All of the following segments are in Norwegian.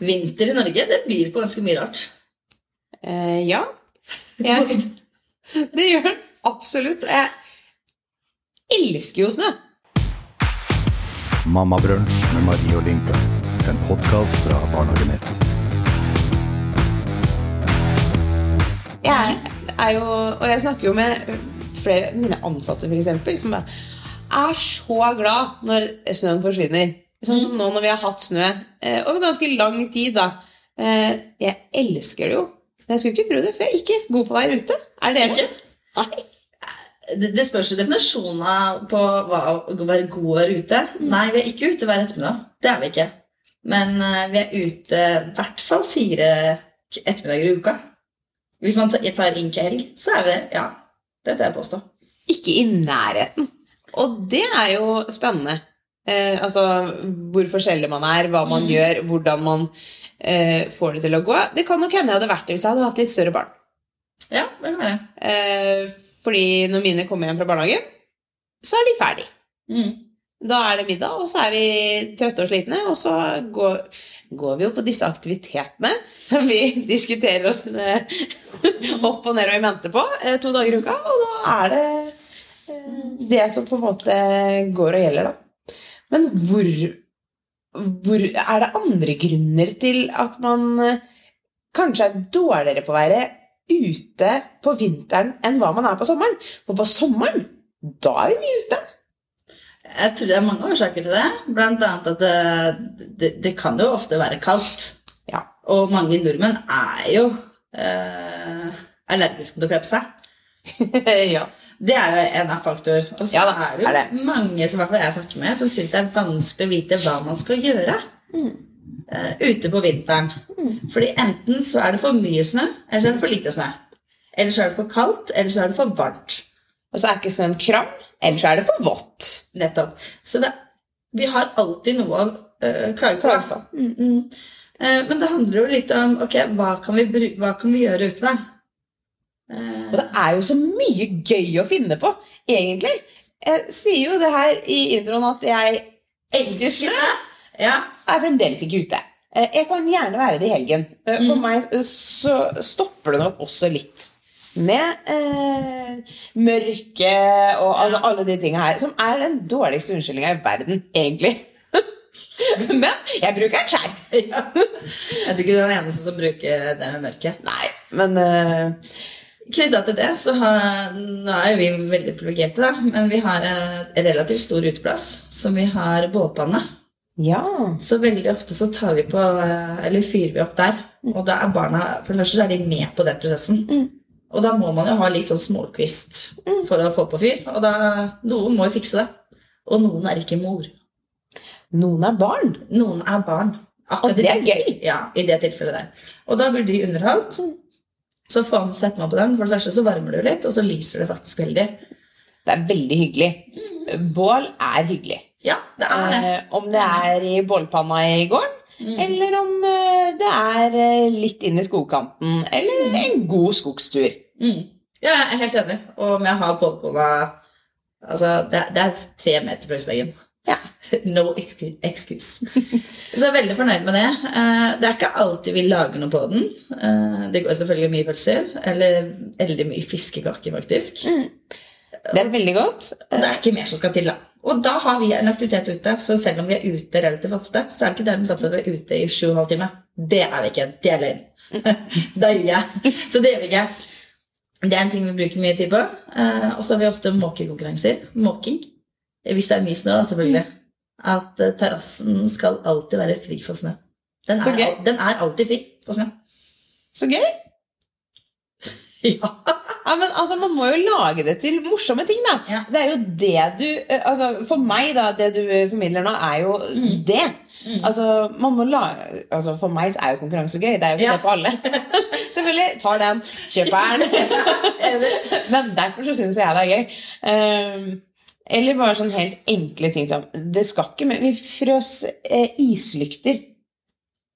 Vinter i Norge, det byr på ganske mye rart. Eh, ja. Jeg, det gjør den absolutt. Jeg elsker jo snø. Mamma Brunch med Marie og Linka. En podkast fra Barnehagenett. Jeg er jo, og jeg snakker jo med flere mine ansatte for eksempel, som bare er så glad når snøen forsvinner. Sånn som nå når vi har hatt snø eh, over ganske lang tid. da. Eh, jeg elsker det jo. Men jeg skulle ikke tro det, for jeg er ikke god på å være ute. Er dere? Ikke? Nei. Det, det spørs jo definisjonen av på hva å være god å være ute. Nei, vi er ikke ute hver ettermiddag. Det er vi ikke. Men eh, vi er ute i hvert fall fire k- ettermiddager i uka. Hvis man tar- tar inn ikke helg, så er vi det. Ja, det tør jeg påstå. Ikke i nærheten. Og det er jo spennende. Eh, altså hvor forskjellig man er, hva man Mm. gjør, hvordan man eh, får det til å gå. Det kan nok hende jeg hadde vært det hvis jeg hadde hatt litt større barn. Ja, det kan være. Eh, fordi når mine kommer hjem fra barnehagen, så er de ferdig. Mm. Da er det middag, og så er vi trøtte og slitne, og så går, går vi jo på disse aktivitetene som vi diskuterer oss eh, opp og ned og i mente på eh, to dager i uka, og da er det eh, det som på en måte går og gjelder, da. Men hvor, hvor er det andre grunner til at man eh, kanskje er dårligere på å være ute på vinteren enn hva man er på sommeren? For på sommeren, da er vi mye ute. Jeg tror det er mange årsaker til det. Blant annet at det, det, det kan jo ofte være kaldt. Ja. Og mange nordmenn er jo eh, allergiske mot å kle på seg. ja. Det er jo en av faktor. Og så Ja da, er det jo er det. mange som i hvert fall jeg snakker med, som syns det er vanskelig å vite hva man skal gjøre Mm. eh, ute på vinteren. Fordi enten så er det for mye snø, eller så er det for lite snø. Eller så er det for kaldt, eller så er det for varmt. Og så er ikke snøen kram, ellers er det for vått. Nettopp. Så det, vi har alltid noe å eh, klage på. Klage på. Mm, mm. Eh, men det handler jo litt om ok, hva kan vi, bru- hva kan vi gjøre ute, da? Eh, Og det er jo så mye gøy å finne på, egentlig. Jeg sier jo det her i introen at jeg elsker snø. Ja. Jeg er fremdeles ikke ute. Eh, Jeg kan gjerne være det i helgen. Eh, For meg eh, så stopper det nok også litt. Med eh, mørke og altså, alle de tinga her. Som er den dårligste unnskyldninga i verden, egentlig. Men jeg bruker den sjæl. ja. Jeg tror ikke du er den eneste som bruker det med mørket. Nei, men eh, Knytta til det, så har, nå er jo vi veldig privilegerte, da, men vi har en relativt stor uteplass som vi har bålpanne. ja. Så veldig ofte så tar vi på, eh, eller fyrer vi opp der. Og da er barna For det første så er de med på den prosessen. Mm. Og da må man jo ha litt sånn småkvist for å få på fyr. Og da Noen må jo fikse det. Og noen er ikke mor. Noen er barn. Noen er barn. Og det er gøy. Ja, i det tilfellet der. Og da blir de underholdt. Så får man sette meg på den. For det første så varmer det jo litt, og så lyser det faktisk veldig. Det er veldig hyggelig. Bål er hyggelig. Ja, det er det. Eh, om det er i bålpanna i gården, Mm. eller om eh, det er eh, litt inn i skogkanten, eller en god skogstur. Mm. Ja, jeg er helt enig. Og om jeg har bålbånda Altså, det, det er tre meter fra husveggen. Ja. No excu- excuse. Så jeg er veldig fornøyd med det. Eh, Det er ikke alltid vi lager noe på den. Eh, Det går selvfølgelig mye pølser. Eller veldig mye fiskekaker, faktisk. Det er veldig godt. Og det er ikke mer som skal til, da. Og da har vi en aktivitet ute. Så selv om vi er ute relativt ofte, så er det ikke dermed sagt at vi er ute i sju og en halv time. Det er vi ikke. Det er løgn. da gir jeg. Så det gjør vi ikke. Det er en ting vi bruker mye tid på. Eh, og så har vi ofte måkekonkurranser. Måking. Hvis det er mye snø, da, selvfølgelig. At eh, terrassen skal alltid være fri for snø. Den Så er, gøy. al- den er alltid fri for snø. Så gøy. Ja. Ja, men altså, Man må jo lage det til morsomme ting, da. Ja. Det er jo det du eh, altså, For meg, da, det du eh, formidler nå, er jo Mm. det. Mm. Altså, man må la, altså, For meg så er jo konkurranse gøy. Det er jo ikke Ja. det for alle. Selvfølgelig. Tar den. Kjøper den. Men derfor så syns jeg det er gøy. Ehm, eller bare sånn helt enkle ting som Det skal ikke men Vi frøs eh, islykter.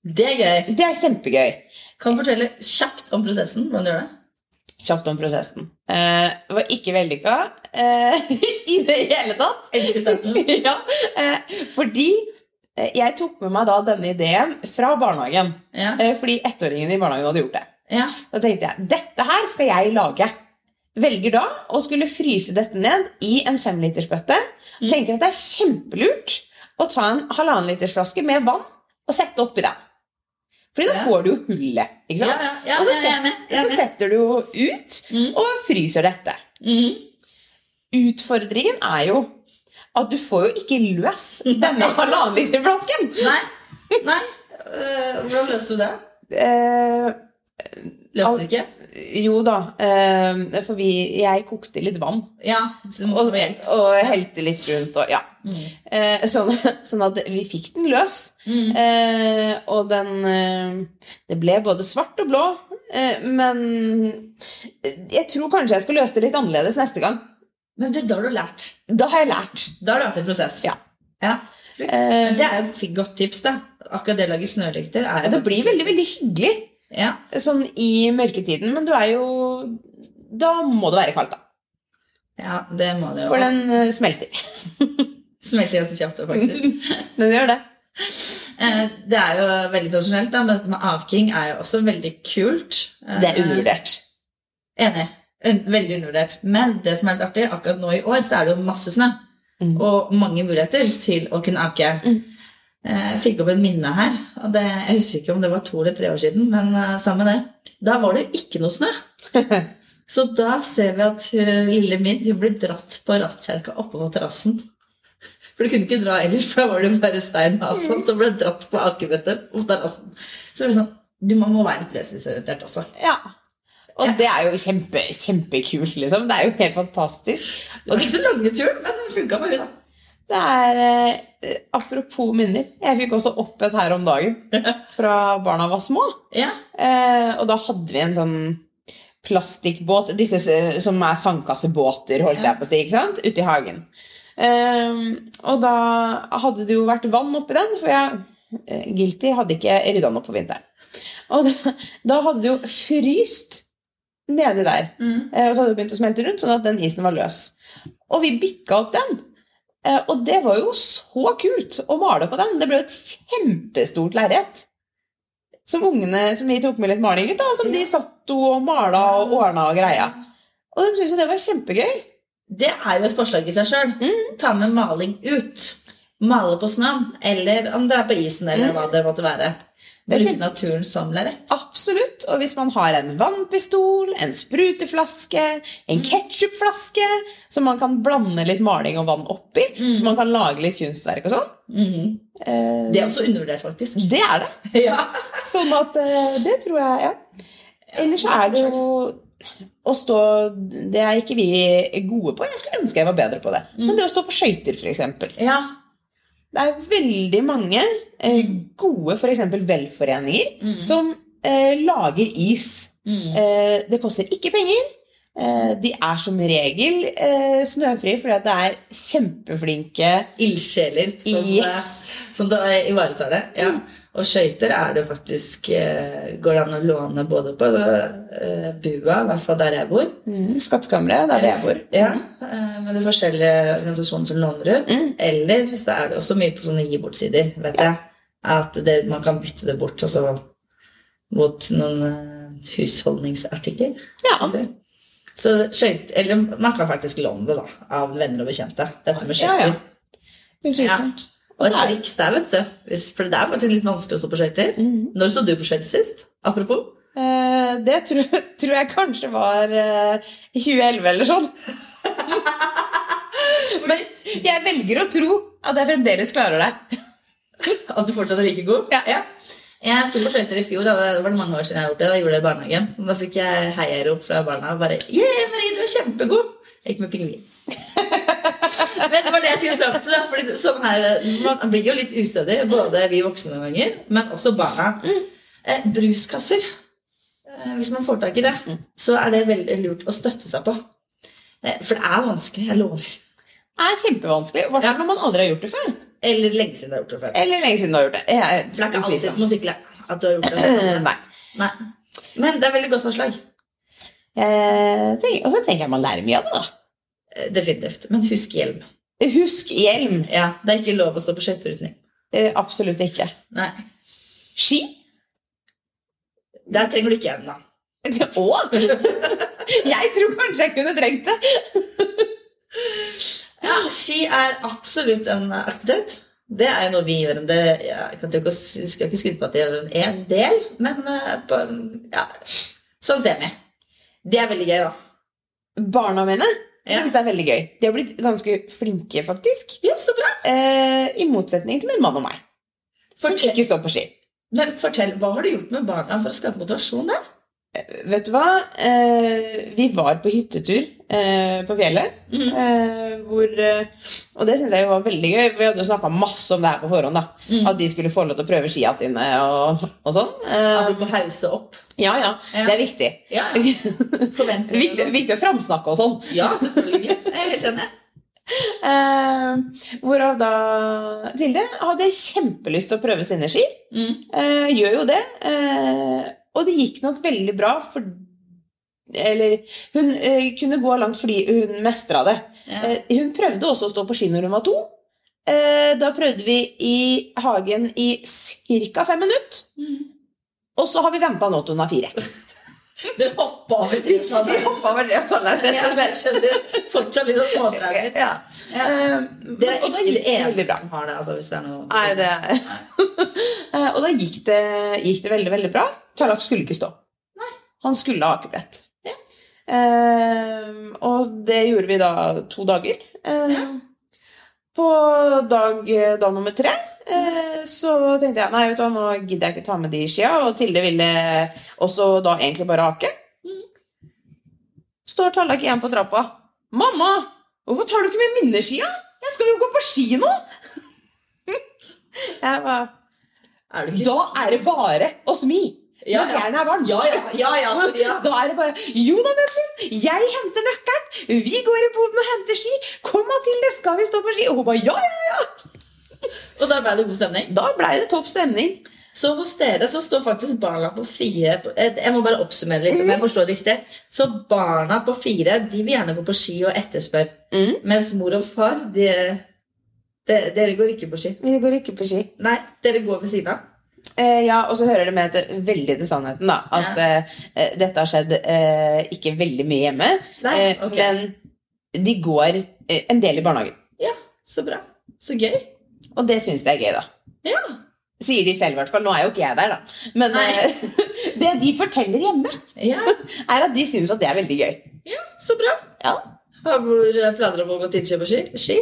det er gøy. Det er kjempegøy. Kan du fortelle kjapt om prosessen? hvordan du gjør det? Kjapt om prosessen. Eh, var ikke vellykka eh, i det hele tatt. Elsker starten. ja, eh, fordi eh, jeg tok med meg da denne ideen fra barnehagen. Ja. eh, Fordi ettåringene i barnehagen hadde gjort det. ja. Da tenkte jeg dette her skal jeg lage. Velger da å skulle fryse dette ned i en femlitersbøtte. Mm. Tenker at det er kjempelurt å ta en halvannen liters flaske med vann og sette oppi den. Fordi da Ja. får du jo hullet, ikke sant? Ja, ja, ja, og så, jeg er set- enig, jeg er så enig. setter du jo ut Mm. og fryser dette. Mhm. Utfordringen er jo at du får jo ikke løs denne halvannen liter flasken. Nei. Nei. Eh, hvordan løste du det? Eh, Løste du ikke? jo da, eh, for vi, jeg kokte litt vann. Ja. Så du måtte Og, få hjelp. og helte litt rundt og ja. Mhm. Eh, sånn, sånn at vi fikk den løs. Mhm. Eh, og den eh, Det ble både svart og blå. Eh, men jeg tror kanskje jeg skal løse det litt annerledes neste gang. Men du, da har du lært. Da har jeg lært. Da har du vært en prosess. Ja. Ja. Eh, Det er jo et fint- godt tips, da. Akkurat det å lage snørykter er jo det blir veldig, veldig hyggelig Ja. sånn i mørketiden, men du er jo Da må det være kaldt, da. ja, det må det jo. For den eh, smelter. smelter ganske kjapt, faktisk. Den gjør det. Eh, Det er jo veldig tradisjonelt, da, men dette med aking er jo også veldig kult. Eh, Det er undervurdert. Enig. Un- Veldig undervurdert. Men det som er litt artig, akkurat nå i år så er det jo masse snø. Mm. Og mange muligheter til å kunne ake. Mm. Eh, Jeg fikk opp et minne her. og det, Jeg husker ikke om det var to eller tre år siden, men eh, samme det. Da var det ikke noe snø. Så da ser vi at hun, lille min hun ble dratt på rattkjerka oppe på terrassen. For du kunne ikke dra ellers, for da var det bare stein og asfalt. Så ble hun dratt på akebrettet på terrassen. Så det ble sånn, du må må være litt løsningsorientert også. Ja. Og Ja. det er jo kjempe, kjempekult, liksom. Det er jo helt fantastisk. Det var ikke så lange turen, men det funka for henne, da. Det er eh, Apropos minner. Jeg fikk også opp et her om dagen fra barna var små. Ja. Eh, og da hadde vi en sånn plastikkbåt, disse s- som er sandkassebåter, holdt jeg på å si, ikke sant? ute i hagen. Ehm, og da hadde det jo vært vann oppi den, for jeg eh, Guilty hadde ikke rydda den opp på vinteren. Og da, da hadde det jo fryst nedi der. Mm. Eh, og så hadde det begynt å smelte rundt, sånn at den isen var løs. Og vi bikka opp den. Eh, og det var jo så kult å male på den. Det ble jo et kjempestort lerret. Som ungene som vi tok med litt maling ut, da, som de satt jo og mala og ordna og greia. Og de syntes jo det var kjempegøy. Det er jo et forslag i seg sjøl. Mm. Ta med maling ut. Male på snøen, eller om det er på isen, eller hva det måtte være. Mm. Det er Bruk kjempe- naturen som lerret. Absolutt. Og hvis man har en vannpistol, en spruteflaske, en ketsjupflaske som man kan blande litt maling og vann oppi, så man kan lage litt kunstverk og sånn Mhm. eh, Det er også undervurdert, faktisk. Det er det. Ja. Sånn at eh, det tror jeg, ja. Ellers er det jo å stå Det er ikke vi gode på. Jeg skulle ønske jeg var bedre på det. Men det å stå på skøyter, f.eks. ja. Det er veldig mange eh, gode for eksempel velforeninger som eh, lager is. Mhm. Eh, det koster ikke penger. Eh, de er som regel eh, snøfrie fordi at det er kjempeflinke Ildsjeler som, Yes. Mm. eh, som da ivaretar det. Ja. Og skøyter er det faktisk eh, Går det an å låne både på eh, bua, i hvert fall der jeg bor, mm, skattkammeret. Det er det jeg bor. Ja, eh, med de forskjellige organisasjonene som låner ut. Mm. Eller så er det også mye på sånne gi bort-sider, vet jeg. At det, man kan bytte det bort altså, mot noen eh, husholdningsartikler. Ja. Eller- Så skøyt, eller man kan faktisk låne det da, av venner og bekjente. Dette med Ja, skøyter. ja. Utvilsomt. Og Og et så er det triks der, vet du. Hvis, for det er faktisk litt vanskelig å stå på skøyter. Mhm. Når sto du på skøyter sist? Apropos. Eh, det tror, tror jeg kanskje var eh, i 2011 eller sånn. Men jeg velger å tro at jeg fremdeles klarer det. At du fortsatt er like god? Ja. Jeg sto på skøyter i fjor, da det var mange år siden jeg har gjort det. Da gjorde jeg det i barnehagen. Og Da fikk jeg heiarop fra barna. og Bare 'Yeah, Marie, du er kjempegod!' Jeg gikk med pingvin. men det var det jeg skulle fram til. da, fordi sånn her, Man blir jo litt ustødig, både vi voksne noen ganger, men også barna. Eh, bruskasser. Eh, hvis man får tak i det, så er det veldig lurt å støtte seg på. Eh, for det er vanskelig. Jeg lover. Det er kjempevanskelig, i hvert fall når man aldri har gjort det før. Eller lenge siden jeg har gjort det før. Eller lenge siden du har gjort det. Jeg, Eh, For det er ikke alltid utvilsomt. som å sykle at du har gjort det. Eh, Nei. Nei. Men det er veldig godt forslag. Jeg tenker- Eh, Og så tenker jeg man lærer mye av det, da. Eh, Definitivt. Men husk hjelm. Husk hjelm. Ja, Det er ikke lov å stå på skøyter uten hjelm. Eh, absolutt ikke. Nei. Ski? Der trenger du ikke hjelm, da. Å! Jeg tror kanskje jeg kunne trengt det. Ja, ski er absolutt en aktivitet. Det er jo noe vi gjør. en del. Jeg kan ikke, å- skal ikke skryte på at jeg gjør en- en del, men eh, på, ja, sånn ser vi. Det er veldig gøy, da. Barna mine Ja. synes det er veldig gøy. De har blitt ganske flinke, faktisk. Ja, så bra. Eh, I motsetning til min mann og meg, som Fortell, ikke står på ski. men fortell, Hva har du gjort med barna for å skape motivasjon der? Vet du hva? Eh, vi var på hyttetur eh, på fjellet. Mhm. Eh, hvor, eh, og det syns jeg jo var veldig gøy. Vi hadde jo snakka masse om det her på forhånd. da Mm. At de skulle få lov til å prøve skia sine og, og sånn. At Eh, du må hause opp. ja, ja. Ja. Det er viktig. Ja, ja. viktig, Forventninger. sånn? viktig å framsnakke og sånn. Ja, selvfølgelig. Jeg er helt enig. Eh, hvorav da Tilde hadde kjempelyst til å prøve sine ski. Mm. Eh, gjør jo det. Eh, og det gikk nok veldig bra, for Eller hun eh, kunne gå langt fordi hun mestra det. Ja. Eh, hun prøvde også å stå på ski når hun var to. Eh, da prøvde vi i hagen i ca. fem minutter. Og så har vi venta nå til hun er fire. Dere hoppa over tre og et halvt Vi år. hoppa over det og sånn, rett Ja, og jeg slett. skjønner. Fortsatt litt sånn småtraumer. Ja. Ja. Eh, Det er og da ikke det gikk veldig eneste bra. som har det. Altså, hvis det er noe. Nei, det Eh, Og da gikk det, gikk det veldig, veldig bra. Tarlak skulle ikke stå. Han skulle ha akebrett. Ja. Eh, og det gjorde vi da to dager. Eh, Ja. På dag, dag nummer tre eh, så tenkte jeg nei, vet du, hva, nå gidder jeg ikke ta med de skia. Og Tilde ville også da egentlig bare ake. Står Tarlak igjen på trappa. 'Mamma, hvorfor tar du ikke med minneskia? Jeg skal jo gå på ski nå!' jeg bare Er du ikke da er det bare å smi Ja, når ja. jernet er varmt. Ja, ja, ja, ja, fordi, ja. Da er det bare Jo da, Bentley, jeg henter nøkkelen. Vi går i boden og henter ski. Kom, Mathilde, skal vi stå på ski? Og hun bare ja, ja. Og da ble det god stemning. Da blei det topp stemning. Så hos dere så står faktisk barna på fire på- eh, Jeg må bare oppsummere litt, Mm. om jeg forstår det riktig. Så barna på fire de vil gjerne gå på ski og etterspør. Mm. Mens mor og far, de, de, dere går ikke på ski. Vi går ikke på ski. Nei, dere går ved siden av. Eh, ja, og så hører det med til, veldig til sannheten, da. At Ja. eh, eh, dette har skjedd eh, ikke veldig mye hjemme. Nei, eh, ok. Men de går eh, en del i barnehagen. Så bra. Så gøy. Og det syns de er gøy, da. Ja. Sier de selv, i hvert fall. Nå er jo ikke jeg der, da. Men Nei. eh, det de forteller hjemme, Ja, er at de syns at det er veldig gøy. Så bra. Ja. Har mor eh, planer om å gå til Innsjø på ski? ski?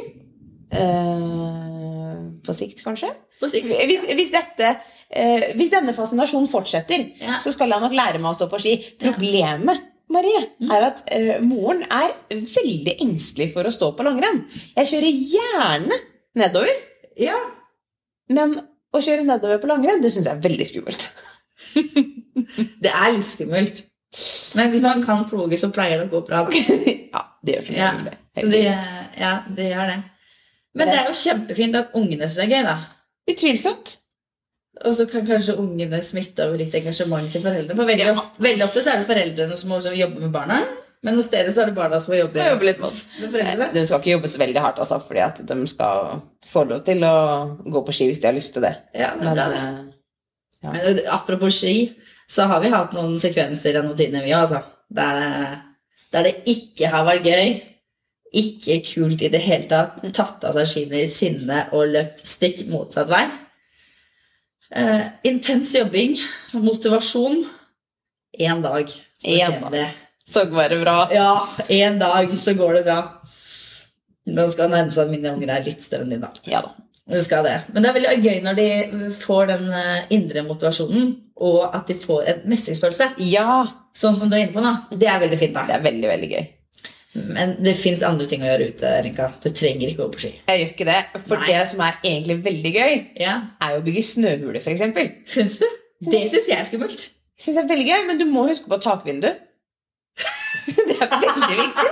Eh, på sikt, kanskje. På sikt. Hvis, hvis, dette, eh, hvis denne fascinasjonen fortsetter, Ja. så skal jeg nok lære meg å stå på ski. Problemet Marie, Mm. er at eh, moren er veldig engstelig for å stå på langrenn. Jeg kjører gjerne nedover, Ja. men å kjøre nedover på langrenn det syns jeg er veldig skummelt. Det er litt skummelt. Men hvis man kan ploge, så pleier det å gå bra. Da. ja, det gjør som Ja, regel det. Så det, heldigvis. ja, det gjør det. Men det er jo kjempefint at ungene syns det er gøy, da. Utvilsomt. Og så kan kanskje ungene smitte over litt engasjement til foreldrene. For veldig, Ja. ofte, veldig ofte så er det foreldrene som også jobber med barna. Men hos dere så er det barna som Må jobber jobbe litt med oss. med foreldrene. De skal ikke jobbe så veldig hardt, altså, fordi at de skal få lov til å gå på ski hvis de har lyst til det. Ja, det er Men, bra, det. eh, Men apropos ski, så har vi hatt noen sekvenser gjennom tidene, vi òg, altså. Der, der det ikke har vært gøy. Ikke kult i det hele tatt. Tatt av seg skiene i sinne og løpt stikk motsatt vei. Eh, intens jobbing, motivasjon. Én dag, så En skjer dag. det. så bare bra. Ja, én dag, så går det bra. Nå skal det nærme seg at mine unger er litt større enn dine. da. Ja da. Det skal det. Men det er veldig gøy når de får den eh, indre motivasjonen, og at de får en mestringsfølelse. Ja, Sånn som du er inne på nå. Det er veldig fint, det da. er veldig, veldig gøy. Men det fins andre ting å gjøre ute, Rinka. Du trenger ikke gå på ski. Jeg gjør ikke det, for Nei. det som er egentlig veldig gøy, Ja, er jo å bygge snøhuler, for eksempel. Syns du? Det syns jeg er skummelt. Jeg synes det er veldig gøy, men du må huske på takvindu. det er veldig viktig.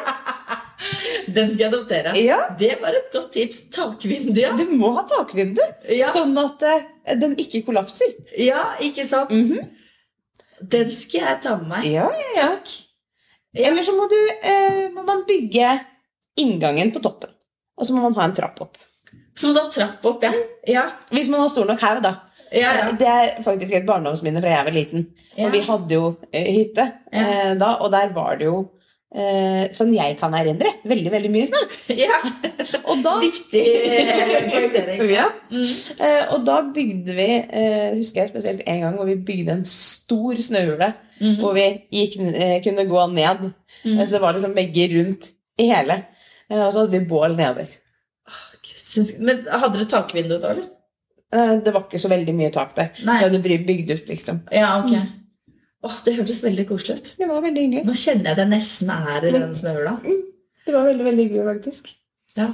Den skal jeg adoptere. Ja, Det var et godt tips. Takvindu, ja. du må ha takvindu, Ja, sånn at eh, den ikke kollapser. ja ikke sant? Mhm. Den skal jeg ta med meg. Ja, ja, ja. Ja. Eller så må, du, eh, må man bygge inngangen på toppen, og så må man ha en trapp opp. Som da trapp opp, ja. Ja, Hvis man var stor nok haug, da. ja, ja. Det er faktisk et barndomsminne fra jeg var liten. Ja. Og vi hadde jo eh, hytte eh, da, og der var det jo eh, Sånn jeg kan erindre. Veldig, veldig mye snø. ja. Og da Viktig eh, poengtering. Ja. Mm. Eh, og da bygde vi, eh, husker jeg spesielt en gang, hvor vi bygde en stor snøhule. Mm. Hvor vi gikk, n- eh, kunne gå ned. Mm. Eh, Så det var liksom begge rundt i hele. Eh, og så hadde vi bål nedover. Gud, syns- Men hadde dere takvindu da, eller? Eh, det var ikke så veldig mye tak der. Nei. Vi hadde bry- bygd ut, liksom. Ja, ok. Mm. Åh, det hørtes veldig koselig ut. Det var veldig hyggelig. Nå kjenner jeg det nesten er i den snøhula. Det var veldig, veldig hyggelig, faktisk. Ja.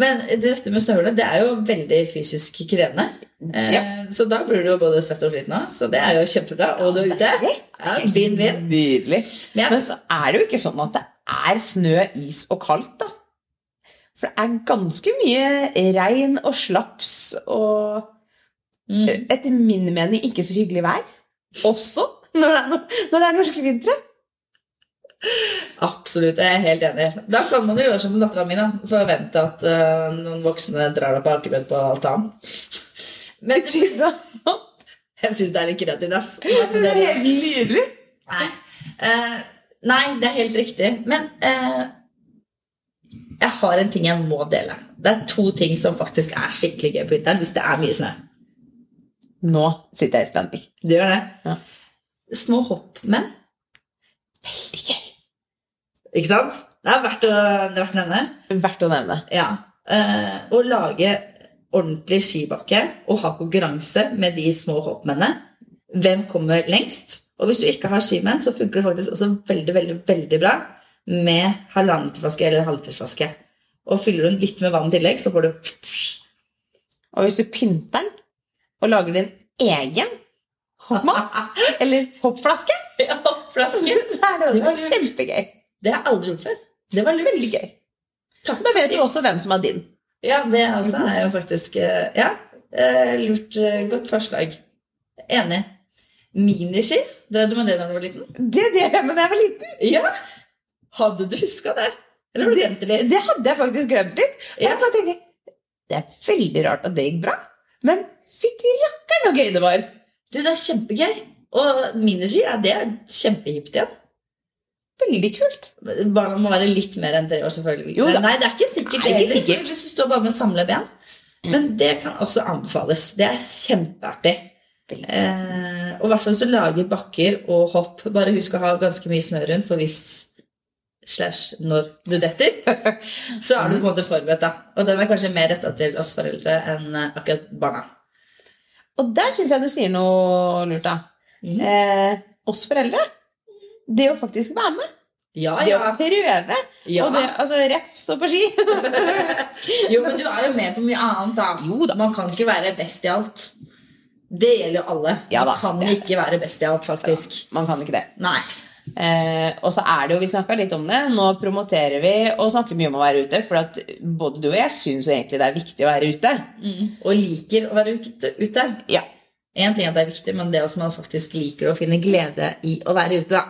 Men dette med snøhule, det er jo veldig fysisk krevende. Eh, Ja. Så da blir du jo både svett og sliten av, så det er jo kjempebra. Og du er ute. Ja, Vinn-vinn. Nydelig. Men jeg- Men så er det jo ikke sånn at det er snø, is og kaldt, da. For det er ganske mye regn og slaps og Mm. etter min mening ikke så hyggelig vær. Også når det er, no- når det er norske vintre. Absolutt, jeg er helt enig. Da kan man jo gjøre som dattera mi, da. Forvente at eh, noen voksne drar deg på akebøtt på altanen. Men jeg syns det er litt kreativt, ass. Det er helt nydelig. Nei. Eh, nei, det er helt riktig. Men eh, jeg har en ting jeg må dele. Det er to ting som faktisk er skikkelig gøy på vinteren hvis det er mye snø. Nå sitter jeg i spenning. Det gjør det. Ja. Små hoppmenn. Veldig gøy. Ikke sant? Det er verdt å, det er verdt å nevne. Verdt å nevne. Ja. Eh, å lage ordentlig skibakke og ha konkurranse med de små hoppmennene. Hvem kommer lengst? Og hvis du ikke har skimenn, så funker det faktisk også veldig veldig, veldig bra med halvannen flaske eller halvlitersflaske. Og fyller du den litt med vann i tillegg, så får du Og hvis du pynter den og lager din egen hoppmann, eller hoppflaske, Ja, så hoppflaske. er det Det var lurt. også kjempegøy. Det har jeg aldri gjort før. Det var lurt. Veldig gøy. Takk Da for vet du det. også hvem som er din. Ja, det også er jo faktisk eh, Ja, eh, lurt. eh, Godt forslag. Enig. Miniski. Drev du med det da du var liten? Det drev jeg med da jeg var liten. Ja! Hadde du huska det? Eller har du glemt det liksom? litt? Det hadde jeg faktisk glemt litt. Og jeg bare tenker, Det er veldig rart at det gikk bra, men fytti rakkeren så gøy det var. Du, det er kjempegøy. Og miniski, ja, det er kjempehipt igjen. Veldig kult. Barna må være litt mer enn tre år, selvfølgelig. Jo da. Nei, det er ikke sikkert. Nei, det ikke heller, sikkert. for Hvis du står bare med samle ben. Men det kan også anbefales. Det er kjempeartig. Veldig. Eh, og i hvert fall så lager bakker og hopp. Bare husk å ha ganske mye snø rundt, for hvis slash når du detter, så er du på en måte forberedt, da. Og den er kanskje mer retta til oss foreldre enn eh, akkurat barna. Og der syns jeg du sier noe lurt, da. Mhm. Eh, oss foreldre. Det å faktisk være med. Ja, Det å Ah, ja. prøve. ja. Og det, altså, ref, stå på ski. Jo, men du er jo med på mye annet, da. Jo da. Man kan ikke være best i alt. Det gjelder jo alle. Ja da. Man kan ikke være best i alt, faktisk. Man kan ikke det. Nei. Eh, og så er det jo, Vi snakka litt om det. Nå promoterer vi og snakker mye om å være ute. For at både du og jeg syns egentlig det er viktig å være ute. Og liker å være ute- ute. Ja. Én ting er at det er viktig, men det er også man faktisk liker å finne glede i å være ute, da.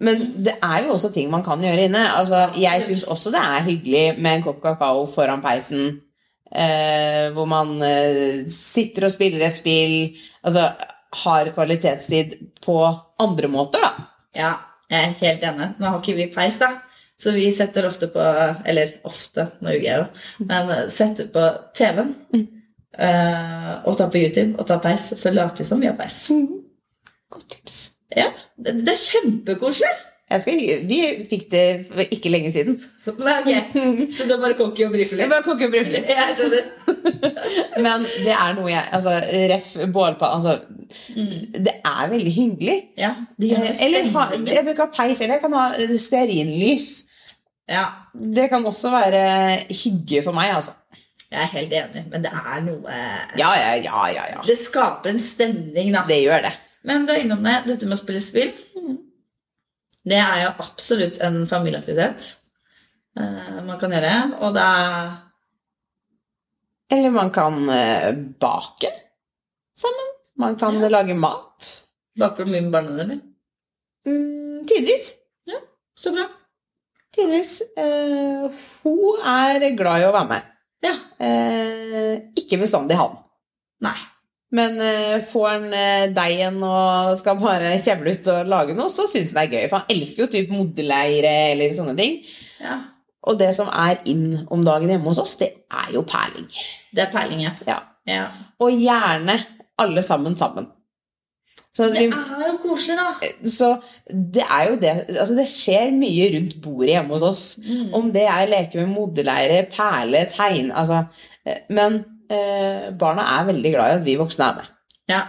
Men det er jo også ting man kan gjøre inne. Altså, jeg syns også det er hyggelig med en kopp kakao foran peisen. Eh, hvor man eh, sitter og spiller et spill. Altså har kvalitetstid på andre måter, da. Ja, jeg er helt enig. Nå har ikke vi peis, da. Så vi setter ofte på Eller ofte, nå ljuger jeg jo. Men eh, setter på TV-en Mm. eh, og tar på YouTube og tar peis. Så later vi som vi har peis. Godt tips. Ja, det, det er kjempekoselig. Jeg skal, vi fikk det for ikke lenge siden. Nei, ok. Så det er bare cocky og brife Det litt? var kokkebryflig. Jeg skjønner. Men det er noe jeg Altså, ref bålpa... Altså, det er veldig hyggelig. Ja, det gjør det Eller ha, spennende. jeg bruker peis, eller jeg kan ha eh, stearinlys. Ja, Det kan også være hygge for meg, altså. jeg er helt enig, men det er noe Ja, ja, ja, ja. ja. Det skaper en stemning, da. Det gjør det. Men du er innom det, dette med å spille spill. Det er jo absolutt en familieaktivitet eh, man kan gjøre. Og det er Eller man kan eh, bake sammen. Man kan eh, lage mat. Baker du mye med barna dine? Mm, tidvis. Så bra. Tidvis. Eh, hun er glad i å være med. Ja. Eh, ikke bestandig han. Nei. Men eh, får han eh, deigen og skal bare kjevle ut og lage noe, så syns han det er gøy. For han elsker jo typ modelleiere eller sånne ting. Ja. Og det som er inn om dagen hjemme hos oss, det er jo perling. Det er peiling, ja. Ja. ja. Og gjerne alle sammen sammen. Så Det vi, er jo koselig, da. så det er jo det Altså, det skjer mye rundt bordet hjemme hos oss. Mm. Om det er leke med modelleiere, perle, tegn Altså. eh, Men eh, barna er veldig glad i at vi voksne er med. Ja.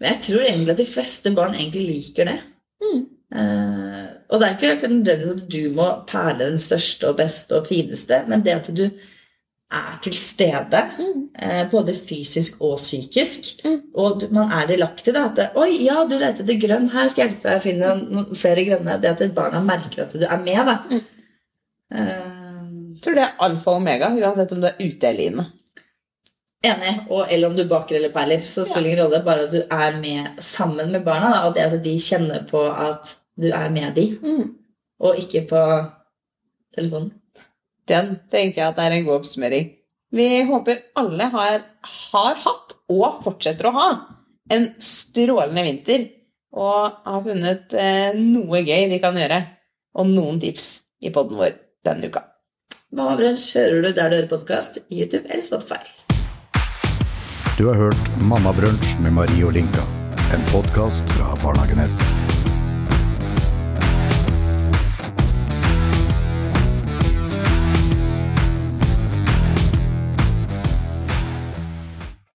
Men jeg tror egentlig at de fleste barn egentlig liker det. Eh, og det er ikke akkurat nødvendigvis at du må perle den største og beste og fineste, men det at du er til stede, eh, både fysisk og psykisk, og du, man er delaktig da, at det, 'Oi, ja, du leter etter grønn. Her skal jeg hjelpe deg å finne noen flere grønne.' Det at barna merker at du er med, da. Eh, Jeg tror det er alfa og omega, uansett om du er ute eller inne. Enig. Og eller om du baker eller perler, så spiller ingen rolle. Bare at du er med sammen med barna, da, og det at de kjenner på at du er med de, og ikke på telefonen. Den tenker jeg at er en god oppsummering. Vi håper alle har, har hatt, og fortsetter å ha, en strålende vinter. Og har funnet eh, noe gøy de kan gjøre. Og noen tips i podden vår denne uka. Mammabransj hører du der du hører podkast, YouTube eller Spotify. Du har hørt Mammabrunsj med Marie og Linka. En podkast fra Barna